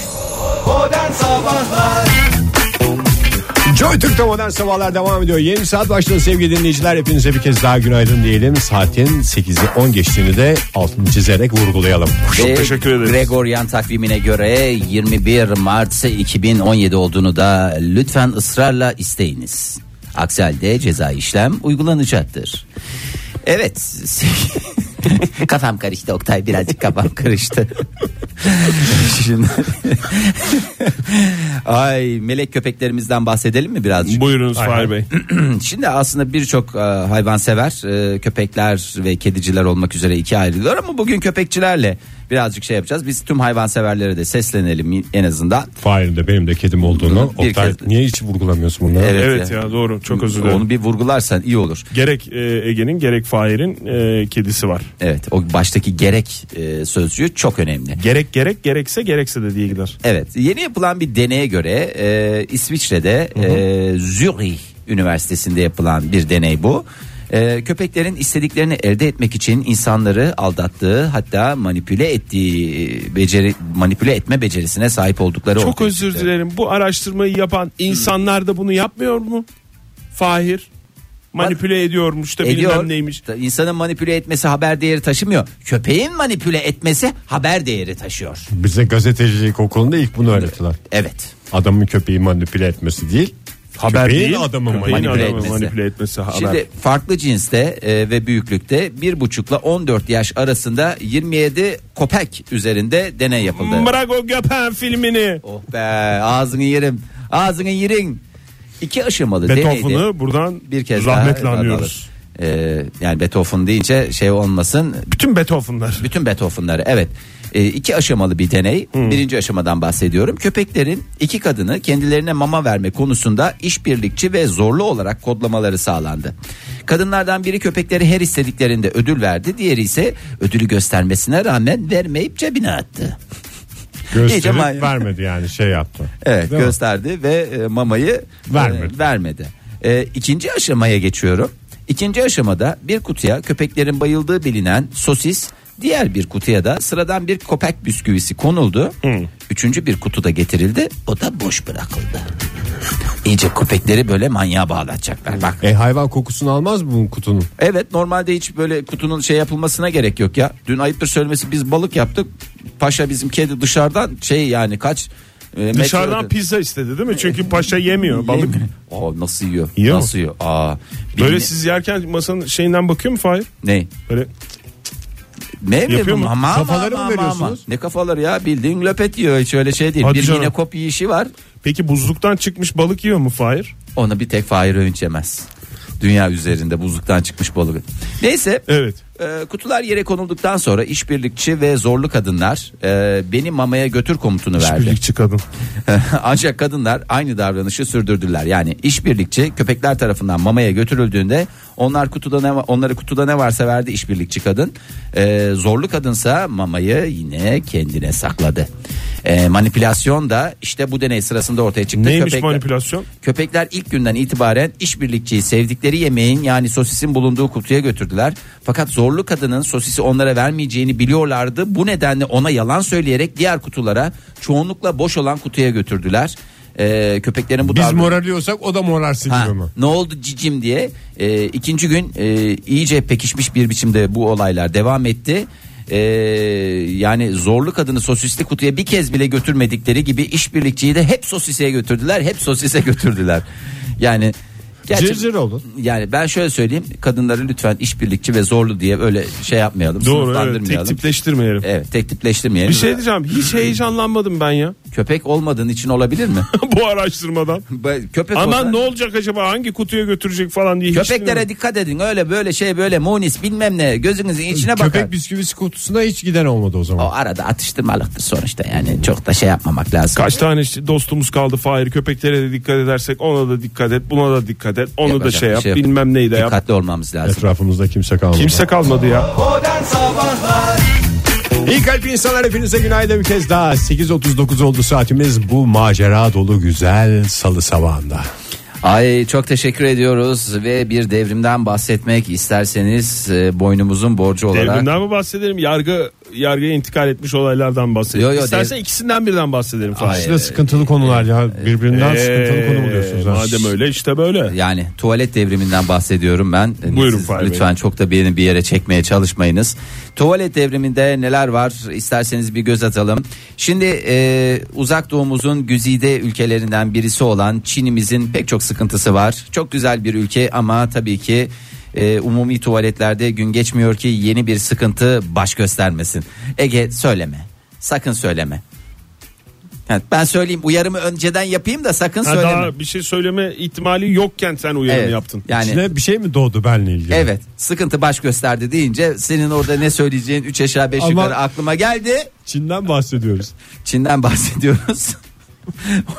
[SPEAKER 3] Joy Türk'te modern sabahlar devam ediyor. Yeni saat başladı sevgili dinleyiciler. Hepinize bir kez daha günaydın diyelim. Saatin 8'i 10 geçtiğini de altını çizerek vurgulayalım.
[SPEAKER 2] Ve
[SPEAKER 4] teşekkür ederiz.
[SPEAKER 2] Gregorian takvimine göre 21 Mart 2017 olduğunu da lütfen ısrarla isteyiniz. Aksi halde ceza işlem uygulanacaktır. Evet. kafam karıştı Oktay birazcık kafam karıştı. Şimdi... Ay melek köpeklerimizden bahsedelim mi birazcık?
[SPEAKER 4] Buyurunuz Fahir Bey.
[SPEAKER 2] Şimdi aslında birçok e, hayvansever e, köpekler ve kediciler olmak üzere ikiye ayrılıyor ama bugün köpekçilerle birazcık şey yapacağız. Biz tüm hayvanseverlere de seslenelim en azından.
[SPEAKER 3] Fahir'in de benim de kedim olduğunu.
[SPEAKER 2] Bir
[SPEAKER 3] Oktay
[SPEAKER 2] kez-
[SPEAKER 3] niye hiç vurgulamıyorsun bunları?
[SPEAKER 2] Evet.
[SPEAKER 4] Evet ya doğru çok özür dilerim.
[SPEAKER 2] Onu bir vurgularsan iyi olur.
[SPEAKER 4] Gerek e, Ege'nin gerek Fahir'in e, kedisi var.
[SPEAKER 2] Evet o baştaki gerek e, sözcüğü çok önemli.
[SPEAKER 4] Gerek gerek gerekse gerekse de diye gider.
[SPEAKER 2] Evet yeni yapılan bir deneye göre e, İsviçre'de e, Zürich Üniversitesi'nde yapılan bir deney bu. E, köpeklerin istediklerini elde etmek için insanları aldattığı hatta manipüle ettiği beceri manipüle etme becerisine sahip oldukları
[SPEAKER 4] Çok
[SPEAKER 2] ortaya
[SPEAKER 4] özür
[SPEAKER 2] çıktı.
[SPEAKER 4] dilerim. Bu araştırmayı
[SPEAKER 2] Hmm.
[SPEAKER 4] yapan insanlar da bunu yapmıyor mu? Fahir manipüle ediyormuş da bilmem neymiş.
[SPEAKER 2] Da İnsanın manipüle etmesi haber değeri taşımıyor. Köpeğin manipüle etmesi haber değeri taşıyor.
[SPEAKER 3] Bize gazetecilik okulunda ilk bunu öğrettiler.
[SPEAKER 2] Evet.
[SPEAKER 3] Adamın köpeği manipüle etmesi değil
[SPEAKER 4] Haber
[SPEAKER 3] Köpeğin
[SPEAKER 4] değil.
[SPEAKER 3] adamı mı?
[SPEAKER 4] köpeğin
[SPEAKER 2] Manipüle
[SPEAKER 4] adamı
[SPEAKER 2] etmesi.
[SPEAKER 4] manipüle etmesi haber.
[SPEAKER 2] Şimdi farklı cinste e, ve büyüklükte bir buçukla 14 yaş arasında 27 kopek üzerinde deney yapıldı.
[SPEAKER 4] Bırak o göpen filmini.
[SPEAKER 2] Oh be ağzını yerim. Ağzını yerin. İki aşamalı deneydi.
[SPEAKER 4] Beethoven'ı buradan
[SPEAKER 2] Bir kez
[SPEAKER 4] rahmetle
[SPEAKER 2] daha
[SPEAKER 4] anıyoruz.
[SPEAKER 2] Ee, yani Beethoven deyince şey olmasın.
[SPEAKER 4] Bütün Beethoven'lar.
[SPEAKER 2] Bütün Beethoven'ları evet. Ee, iki aşamalı bir deney. Birinci aşamadan bahsediyorum. Köpeklerin iki kadını kendilerine mama verme konusunda işbirlikçi ve zorlu olarak kodlamaları sağlandı. Kadınlardan biri köpekleri her istediklerinde ödül verdi. Diğeri ise ödülü göstermesine rağmen vermeyip cebine attı. İyice may-
[SPEAKER 3] Gösterip vermedi yani şey yaptı.
[SPEAKER 2] Evet
[SPEAKER 3] Değil mi?
[SPEAKER 2] gösterdi ve e, mamayı
[SPEAKER 3] Vermedi.
[SPEAKER 2] e, vermedi. E, ikinci aşamaya geçiyorum. İkinci aşamada bir kutuya köpeklerin bayıldığı bilinen sosis diğer bir kutuya da sıradan bir köpek bisküvisi konuldu. Üçüncü bir kutu da getirildi o da boş bırakıldı. İyice köpekleri böyle manyağa bağlatacaklar bak.
[SPEAKER 3] E hayvan kokusunu almaz mı bu kutunun?
[SPEAKER 2] Evet normalde hiç böyle kutunun şey yapılmasına gerek yok ya. Dün ayıptır söylemesi biz balık yaptık. Paşa bizim kedi dışarıdan şey yani kaç... e, metre
[SPEAKER 4] Dışarıdan
[SPEAKER 2] öde-
[SPEAKER 4] pizza istedi değil mi? Çünkü paşa yemiyor balık.
[SPEAKER 2] Yemiyor. Aa, nasıl yiyor?
[SPEAKER 4] Yiyor mu?
[SPEAKER 2] nasıl yiyor? Aa,
[SPEAKER 4] Böyle
[SPEAKER 2] bilmi-
[SPEAKER 4] siz yerken masanın şeyinden bakıyor mu Fahir?
[SPEAKER 2] ne?
[SPEAKER 4] Böyle
[SPEAKER 2] Ne mi?
[SPEAKER 4] Yapıyor mu?
[SPEAKER 2] Ama, ama,
[SPEAKER 3] Kafaları
[SPEAKER 2] ama,
[SPEAKER 3] mı
[SPEAKER 2] ama.
[SPEAKER 3] veriyorsunuz?
[SPEAKER 2] Ne kafaları ya? Bildiğin löpet yiyor. Hiç öyle şey değil.
[SPEAKER 4] Hadi
[SPEAKER 2] bir
[SPEAKER 4] canım.
[SPEAKER 2] yine kop yiyişi var.
[SPEAKER 4] peki buzluktan çıkmış balık yiyor mu Fahir?
[SPEAKER 2] Ona bir tek Fahir Öğünç yemez. Dünya üzerinde buzluktan çıkmış balık. Neyse.
[SPEAKER 4] Evet.
[SPEAKER 2] Ee, kutular yere konulduktan sonra işbirlikçi ve zorlu kadınlar e, beni mamaya götür komutunu verdi.
[SPEAKER 4] Birlikçi kadın.
[SPEAKER 2] Ancak kadınlar aynı davranışı sürdürdüler. Yani işbirlikçi köpekler tarafından mamaya götürüldüğünde onlar kutuda ne va- onları kutuda ne varsa verdi işbirlikçi kadın. Ee, zorlu kadınsa mamayı yine kendine sakladı. Ee, manipülasyon da işte bu deney sırasında ortaya çıktı.
[SPEAKER 4] Neymiş
[SPEAKER 2] Köpekler-
[SPEAKER 4] manipülasyon?
[SPEAKER 2] Köpekler ilk günden itibaren işbirlikçiyi sevdikleri yemeğin yani sosisin bulunduğu kutuya götürdüler. Fakat zorlu kadının sosisi onlara vermeyeceğini biliyorlardı. Bu nedenle ona yalan söyleyerek diğer kutulara çoğunlukla boş olan kutuya götürdüler. Ee, köpeklerin bu
[SPEAKER 3] Biz
[SPEAKER 2] davranışı-
[SPEAKER 3] morarlıyorsak o da morarsın
[SPEAKER 2] Ha,
[SPEAKER 3] diyor mu?
[SPEAKER 2] ne oldu cicim diye Ee, ikinci gün e, iyice pekişmiş bir biçimde bu olaylar devam etti. Ee, yani zorlu kadını sosisli kutuya bir kez bile götürmedikleri gibi işbirlikçiyi de hep sosiseye götürdüler, hep sosise götürdüler. Yani gerçi-
[SPEAKER 3] Cırcır olun.
[SPEAKER 2] Yani ben şöyle söyleyeyim, kadınları lütfen işbirlikçi ve zorlu diye öyle şey yapmayalım,
[SPEAKER 4] Doğru evet. Tek
[SPEAKER 2] sınıflandırmayalım.
[SPEAKER 4] tipleştirmeyelim.
[SPEAKER 2] Evet, tek tipleştirmeyelim.
[SPEAKER 4] Bir şey diyeceğim hiç heyecanlanmadım ben ya
[SPEAKER 2] Köpek olmadığın için olabilir mi?
[SPEAKER 4] bu araştırmadan.
[SPEAKER 2] Köpek olsa-
[SPEAKER 4] Aman ne olacak acaba hangi kutuya götürecek falan diye. hiç
[SPEAKER 2] Köpeklere
[SPEAKER 4] bilmiyorum.
[SPEAKER 2] dikkat edin. Öyle böyle şey böyle munis bilmem ne gözünüzün içine bakar.
[SPEAKER 3] Köpek bisküvisi kutusuna hiç giden olmadı o
[SPEAKER 2] O
[SPEAKER 3] zaman.
[SPEAKER 2] arada atıştırmalıktır sonuçta yani çok da şey yapmamak lazım.
[SPEAKER 4] Kaç tane işte dostumuz kaldı Fahir köpeklere de dikkat edersek ona da dikkat et buna da dikkat et onu da
[SPEAKER 2] Yapacak
[SPEAKER 4] şey
[SPEAKER 2] bir
[SPEAKER 4] yap
[SPEAKER 2] şey yok.
[SPEAKER 4] bilmem neyi de yap.
[SPEAKER 2] Dikkatli olmamız lazım.
[SPEAKER 3] Etrafımızda kimse kalmadı.
[SPEAKER 4] Kimse kalmadı ya.
[SPEAKER 3] İyi kalp insanlar hepinize günaydın bir kez daha. 8.39 oldu saatimiz bu macera dolu güzel salı sabahında.
[SPEAKER 2] Ay çok teşekkür ediyoruz ve bir devrimden bahsetmek isterseniz e, boynumuzun borcu olarak.
[SPEAKER 4] Devrimden mi bahsedelim? Yargı yargıya intikal etmiş olaylardan bahsedelim.
[SPEAKER 2] Yo, yo,
[SPEAKER 4] İstersen
[SPEAKER 2] dev-
[SPEAKER 4] ikisinden birden bahsedelim Fahir.
[SPEAKER 3] Aslında sıkıntılı konular ya. Birbirinden
[SPEAKER 4] Ee,
[SPEAKER 3] sıkıntılı konu buluyorsunuz. ha.
[SPEAKER 4] Madem öyle işte böyle.
[SPEAKER 2] Yani tuvalet devriminden bahsediyorum ben. E,
[SPEAKER 4] Buyurun
[SPEAKER 2] Siz
[SPEAKER 4] Fahri Bey.
[SPEAKER 2] Lütfen çok da beni bir yere çekmeye çalışmayınız. Tuvalet devriminde neler var isterseniz bir göz atalım. Şimdi e, uzak doğumuzun güzide ülkelerinden birisi olan Çin'imizin pek çok sıkıntısı var. Çok güzel bir ülke ama tabii ki e, umumi tuvaletlerde gün geçmiyor ki yeni bir sıkıntı baş göstermesin. Ege söyleme sakın söyleme. Evet, ben söyleyeyim uyarımı önceden yapayım da sakın
[SPEAKER 4] Ha,
[SPEAKER 2] söyleme.
[SPEAKER 4] daha bir şey söyleme ihtimali yokken sen uyarım
[SPEAKER 2] Evet,
[SPEAKER 4] yaptın.
[SPEAKER 2] Yani
[SPEAKER 3] İçine bir şey mi doğdu benle ilgili?
[SPEAKER 2] Evet sıkıntı baş gösterdi deyince senin orada ne söyleyeceğin 3 aşağı 5
[SPEAKER 3] Ama-
[SPEAKER 2] yukarı aklıma geldi.
[SPEAKER 3] Çin'den bahsediyoruz.
[SPEAKER 2] Çin'den bahsediyoruz.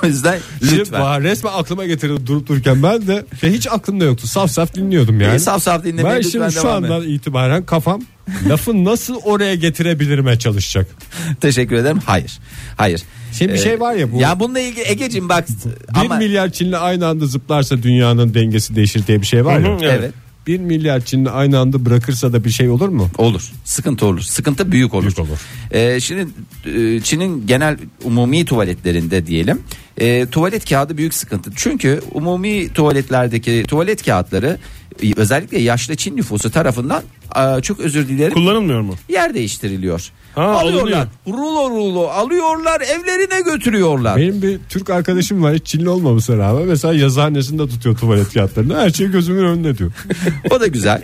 [SPEAKER 2] o yüzden
[SPEAKER 3] Lütfen.
[SPEAKER 2] lütfen.
[SPEAKER 3] resmen aklıma getirdi durup dururken ben de ve hiç aklımda yoktu. Saf saf dinliyordum yani.
[SPEAKER 2] İyi, Ee, saf saf dinlemeye
[SPEAKER 3] Ben
[SPEAKER 2] lütfen
[SPEAKER 3] şimdi şu
[SPEAKER 2] devam et.
[SPEAKER 3] andan itibaren kafam lafı nasıl oraya getirebilirime çalışacak.
[SPEAKER 2] Teşekkür ederim. Hayır. Hayır. Ee,
[SPEAKER 3] Şimdi bir şey var ya bu-
[SPEAKER 2] Ya bununla ilgili Ege'cim bak.
[SPEAKER 3] Bir
[SPEAKER 2] ama,
[SPEAKER 3] milyar Çinli aynı anda zıplarsa dünyanın dengesi değişir diye bir şey var
[SPEAKER 4] Hı
[SPEAKER 3] ya.
[SPEAKER 4] hı,
[SPEAKER 2] evet.
[SPEAKER 3] Bir milyar Çinli aynı anda bırakırsa da bir şey olur mu?
[SPEAKER 2] Olur. Sıkıntı olur. Sıkıntı büyük olur.
[SPEAKER 3] Büyük olur.
[SPEAKER 2] Ee, şimdi e, Çin'in genel umumi tuvaletlerinde diyelim. e, tuvalet kağıdı büyük sıkıntı. Çünkü umumi tuvaletlerdeki tuvalet kağıtları e, özellikle yaşlı Çin nüfusu tarafından e, çok özür dilerim
[SPEAKER 4] Kullanılmıyor mu?
[SPEAKER 2] yer değiştiriliyor.
[SPEAKER 4] Ha,
[SPEAKER 2] alıyorlar.
[SPEAKER 4] alınıyor.
[SPEAKER 2] Rulo rulo alıyorlar evlerine götürüyorlar.
[SPEAKER 3] Benim bir Türk arkadaşım var hiç Çinli olmamasına rağmen mesela yazıhanesinde tutuyor tuvalet kağıtlarını her şey gözümün önünde diyor.
[SPEAKER 2] O da güzel.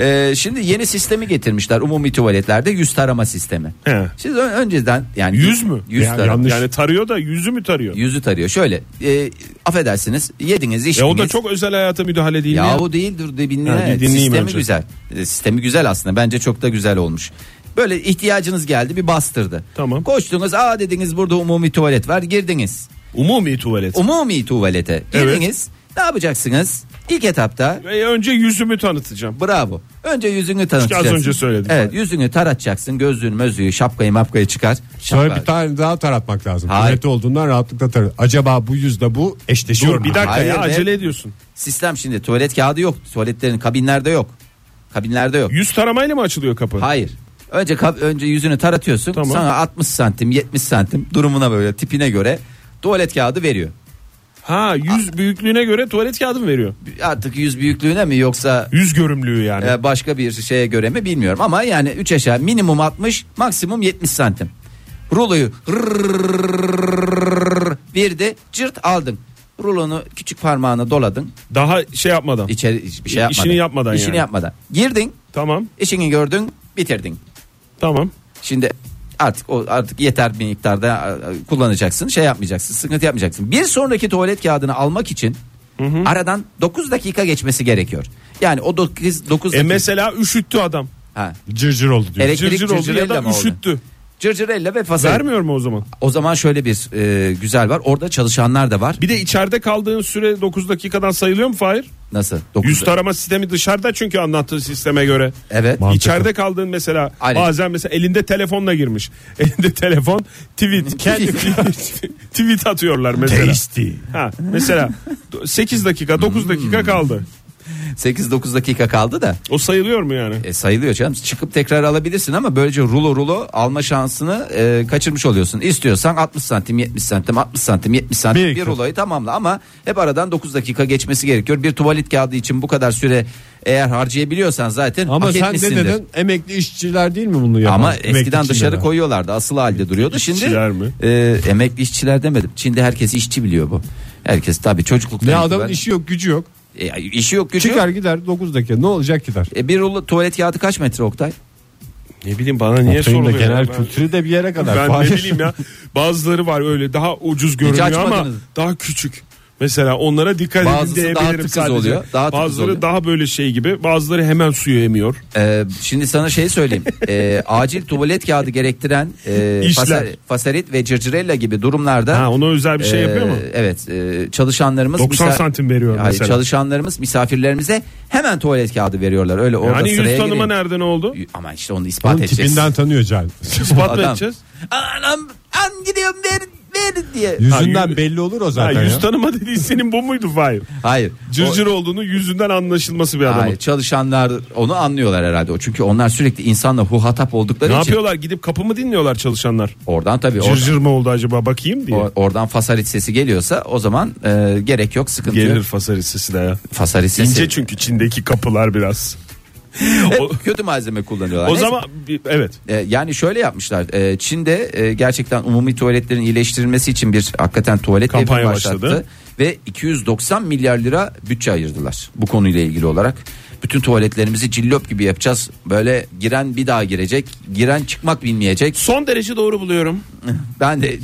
[SPEAKER 2] Ee, şimdi yeni sistemi getirmişler umumi tuvaletlerde yüz tarama sistemi.
[SPEAKER 4] He.
[SPEAKER 2] Siz ö- önceden yani
[SPEAKER 4] Yüz mü?
[SPEAKER 2] Yüz
[SPEAKER 3] Yani
[SPEAKER 2] tarama.
[SPEAKER 3] yanlış.
[SPEAKER 4] Yani tarıyor da yüzü mü tarıyor?
[SPEAKER 2] Yüzü tarıyor. Şöyle e, affedersiniz yediniz
[SPEAKER 4] E
[SPEAKER 2] içtiniz.
[SPEAKER 4] o da çok özel hayata müdahale değil mi?
[SPEAKER 2] Ya o değil dur de dinle.
[SPEAKER 4] Ha, bir dinleyeyim
[SPEAKER 2] Sistemi
[SPEAKER 4] önce.
[SPEAKER 2] güzel. E, Sistemi güzel aslında. Bence çok da güzel olmuş. Böyle ihtiyacınız geldi bir bastırdı.
[SPEAKER 4] Tamam.
[SPEAKER 2] Koştunuz aa dediniz burada umumi tuvalet var girdiniz.
[SPEAKER 4] Umumi tuvalet.
[SPEAKER 2] Umumi tuvalete girdiniz. Ne yapacaksınız? İlk etapta
[SPEAKER 4] E, önce yüzümü tanıtacağım.
[SPEAKER 2] Bravo. Önce yüzünü tanıtacaksın.
[SPEAKER 4] önce söyledim.
[SPEAKER 2] Evet yüzünü taratacaksın. Gözlüğünü mözlüğü şapkayı mapkayı çıkar.
[SPEAKER 3] Sonra
[SPEAKER 2] Şapka-
[SPEAKER 3] bir tane daha taratmak lazım.
[SPEAKER 2] Hayır.
[SPEAKER 3] Tuvalette olduğundan rahatlıkla tarat. Acaba bu yüzde bu eşleşiyor
[SPEAKER 4] Dur
[SPEAKER 3] mu?
[SPEAKER 4] bir dakika
[SPEAKER 2] Hayır
[SPEAKER 4] ya
[SPEAKER 2] be.
[SPEAKER 4] acele ediyorsun.
[SPEAKER 2] Sistem şimdi tuvalet kağıdı yok. Tuvaletlerin kabinlerde yok. Kabinlerde yok.
[SPEAKER 4] Yüz taramayla mı açılıyor kapı?
[SPEAKER 2] Hayır. Önce kab- önce yüzünü taratıyorsun.
[SPEAKER 4] Tamam.
[SPEAKER 2] Sana 60 santim 70 santim durumuna böyle tipine göre tuvalet kağıdı veriyor.
[SPEAKER 4] Ha yüz büyüklüğüne göre tuvalet kağıdı mı veriyor?
[SPEAKER 2] Artık yüz büyüklüğüne mi yoksa
[SPEAKER 4] Yüz görümlüğü yani.
[SPEAKER 2] e, başka bir şeye göre mi bilmiyorum. Ama yani 3 aşağı minimum 60 maksimum 70 santim. Ruloyu verdi cırt aldın. Rulonu küçük parmağına doladın.
[SPEAKER 4] Daha şey yapmadan.
[SPEAKER 2] İçeri bir şey
[SPEAKER 4] İ-
[SPEAKER 2] yapmadan.
[SPEAKER 4] işini yapmadan
[SPEAKER 2] İşini
[SPEAKER 4] yani.
[SPEAKER 2] yapmadan. Girdin,
[SPEAKER 4] Tamam
[SPEAKER 2] işini gördün, bitirdin.
[SPEAKER 4] tamam. E
[SPEAKER 2] Şimdi artık o artık yeter bir miktarda e, kullanacaksın. Şey yapmayacaksın. Sıkıntı yapmayacaksın. Bir sonraki tuvalet kağıdını almak için aradan 9 dakika geçmesi gerekiyor. Yani o 9 9
[SPEAKER 4] E
[SPEAKER 2] dakika.
[SPEAKER 4] mesela üşüttü adam.
[SPEAKER 2] ha.
[SPEAKER 3] Cırcır oldu diyor.
[SPEAKER 2] Elektrik
[SPEAKER 4] Cırcır oldu ya
[SPEAKER 2] cırcırella
[SPEAKER 4] da
[SPEAKER 2] mı oldu?
[SPEAKER 4] üşüttü.
[SPEAKER 2] Cırcırella ve fasulye.
[SPEAKER 4] Vermiyor mu o zaman?
[SPEAKER 2] O zaman şöyle bir e, güzel var. Orada çalışanlar da var.
[SPEAKER 4] Bir de içeride kaldığın süre 9 dakikadan sayılıyor mu Fahir?
[SPEAKER 2] Nasıl? Dokuz-
[SPEAKER 4] Yüz tarama sistemi dışarıda çünkü anlattığı sisteme göre.
[SPEAKER 2] Evet.
[SPEAKER 3] Mantıklı.
[SPEAKER 4] İçeride kaldığın mesela
[SPEAKER 2] Aynen.
[SPEAKER 4] bazen mesela elinde telefonla girmiş. Elinde telefon tweet kendi tweet atıyorlar mesela.
[SPEAKER 3] Tasty.
[SPEAKER 4] Ha, mesela 8 dakika 9 dakika
[SPEAKER 2] Hmm.
[SPEAKER 4] kaldı.
[SPEAKER 2] 8-9 dakika kaldı da
[SPEAKER 4] O sayılıyor mu yani?
[SPEAKER 2] e, sayılıyor canım. Çıkıp tekrar alabilirsin ama böylece rulo rulo alma şansını e, kaçırmış oluyorsun. İstiyorsan 60 santim 70 santim 60 santim 70 santim bir,
[SPEAKER 3] Bir iki.
[SPEAKER 2] ruloyu tamamla ama hep aradan 9 dakika geçmesi gerekiyor. Bir tuvalet kağıdı için bu kadar süre eğer harcayabiliyorsan zaten
[SPEAKER 3] Ama
[SPEAKER 2] hak
[SPEAKER 3] sen ne
[SPEAKER 2] etmişsindir.
[SPEAKER 3] dedin? Emekli işçiler değil mi bunu yapan?
[SPEAKER 2] Ama
[SPEAKER 3] Emekli
[SPEAKER 2] eskiden
[SPEAKER 3] Çinliler.
[SPEAKER 2] dışarı koyuyorlardı. Asıl halde duruyordu. Şimdi
[SPEAKER 4] İşçiler mi?
[SPEAKER 2] e, emekli işçiler demedim. Şimdi herkes işçi biliyor bu. Herkes tabii çocukluktan.
[SPEAKER 3] Ne adamın
[SPEAKER 2] itibaren-
[SPEAKER 3] işi yok gücü yok.
[SPEAKER 2] E, ya, işi yok gücü.
[SPEAKER 3] Çıkar
[SPEAKER 2] yok.
[SPEAKER 3] gider 9 dakika ne olacak gider.
[SPEAKER 2] E, bir rulo tuvalet kağıdı kaç metre Oktay?
[SPEAKER 4] Ne bileyim bana niye
[SPEAKER 3] Oktay'ın da
[SPEAKER 4] soruluyor?
[SPEAKER 3] genel
[SPEAKER 4] ya? Ben-
[SPEAKER 3] kültürü de bir yere kadar.
[SPEAKER 4] Ben
[SPEAKER 3] Fahir.
[SPEAKER 4] ne bileyim ya. Bazıları var öyle daha ucuz görünüyor ama
[SPEAKER 2] açmadınız.
[SPEAKER 4] daha küçük. Mesela onlara dikkat edin
[SPEAKER 2] Bazısı daha
[SPEAKER 4] diyebilirim
[SPEAKER 2] tıkız
[SPEAKER 4] sadece.
[SPEAKER 2] oluyor, daha tıkız
[SPEAKER 4] bazıları
[SPEAKER 2] oluyor.
[SPEAKER 4] daha böyle şey gibi, bazıları hemen suyu emiyor.
[SPEAKER 2] E, şimdi sana şey söyleyeyim. E, acil tuvalet kağıdı gerektiren e,
[SPEAKER 4] İşler.
[SPEAKER 2] fasa- fasarit ve cırcırella gibi durumlarda
[SPEAKER 4] Ha ona özel bir şey
[SPEAKER 2] e,
[SPEAKER 4] yapıyor mu?
[SPEAKER 2] Evet. e, çalışanlarımız
[SPEAKER 4] 90 santim veriyor
[SPEAKER 2] Hayır,
[SPEAKER 4] mesela.
[SPEAKER 2] çalışanlarımız misafirlerimize hemen tuvalet kağıdı veriyorlar. Öyle orada
[SPEAKER 4] Yani
[SPEAKER 2] sıraya
[SPEAKER 4] yüz tanıma
[SPEAKER 2] gireyim.
[SPEAKER 4] nereden oldu?
[SPEAKER 2] Ama işte onu ispat
[SPEAKER 3] Onun
[SPEAKER 2] edeceksin.
[SPEAKER 3] tipinden tanıyor Can.
[SPEAKER 4] İspat mı
[SPEAKER 2] Adam-
[SPEAKER 4] edeceğiz?
[SPEAKER 2] Anam an gidiyorum ver ver diye.
[SPEAKER 4] Ha,
[SPEAKER 3] Yüzünden
[SPEAKER 4] yüz-
[SPEAKER 3] belli olur o
[SPEAKER 4] Ha,
[SPEAKER 3] zaten
[SPEAKER 4] yüz
[SPEAKER 3] ya.
[SPEAKER 4] tanıma dediğin senin bu muydu Fahir?
[SPEAKER 2] Hayır.
[SPEAKER 4] Cırcır olduğunu yüzünden anlaşılması bir
[SPEAKER 2] O-
[SPEAKER 4] adamın.
[SPEAKER 2] hayır, çalışanlar onu anlıyorlar herhalde. O çünkü onlar sürekli insanla huhatap oldukları için.
[SPEAKER 4] Ne yapıyorlar? Gidip kapı mı dinliyorlar çalışanlar?
[SPEAKER 2] Oradan tabii or-
[SPEAKER 4] Cırcır mı oldu acaba bakayım diye.
[SPEAKER 2] or- oradan fasarit sesi geliyorsa o zaman e, gerek yok sıkıntı
[SPEAKER 4] Gelir
[SPEAKER 2] yok.
[SPEAKER 4] fasarit sesi de ya.
[SPEAKER 2] Fasarit sesi.
[SPEAKER 4] İnce çünkü Çin'deki kapılar biraz.
[SPEAKER 2] Hep
[SPEAKER 4] o-
[SPEAKER 2] kötü malzeme kullanıyorlar.
[SPEAKER 4] O
[SPEAKER 2] Neyse.
[SPEAKER 4] zaman evet.
[SPEAKER 2] E, yani şöyle yapmışlar. E, Çin'de e, gerçekten umumi tuvaletlerin iyileştirilmesi için bir hakikaten tuvalet devri
[SPEAKER 4] Kampanya
[SPEAKER 2] başlattı.
[SPEAKER 4] başladı.
[SPEAKER 2] Ve 290 milyar lira bütçe ayırdılar bu konuyla ilgili olarak. Bütün tuvaletlerimizi cillop gibi yapacağız. Böyle giren bir daha girecek, giren çıkmak bilmeyecek.
[SPEAKER 4] Son derece doğru buluyorum.
[SPEAKER 2] Ben de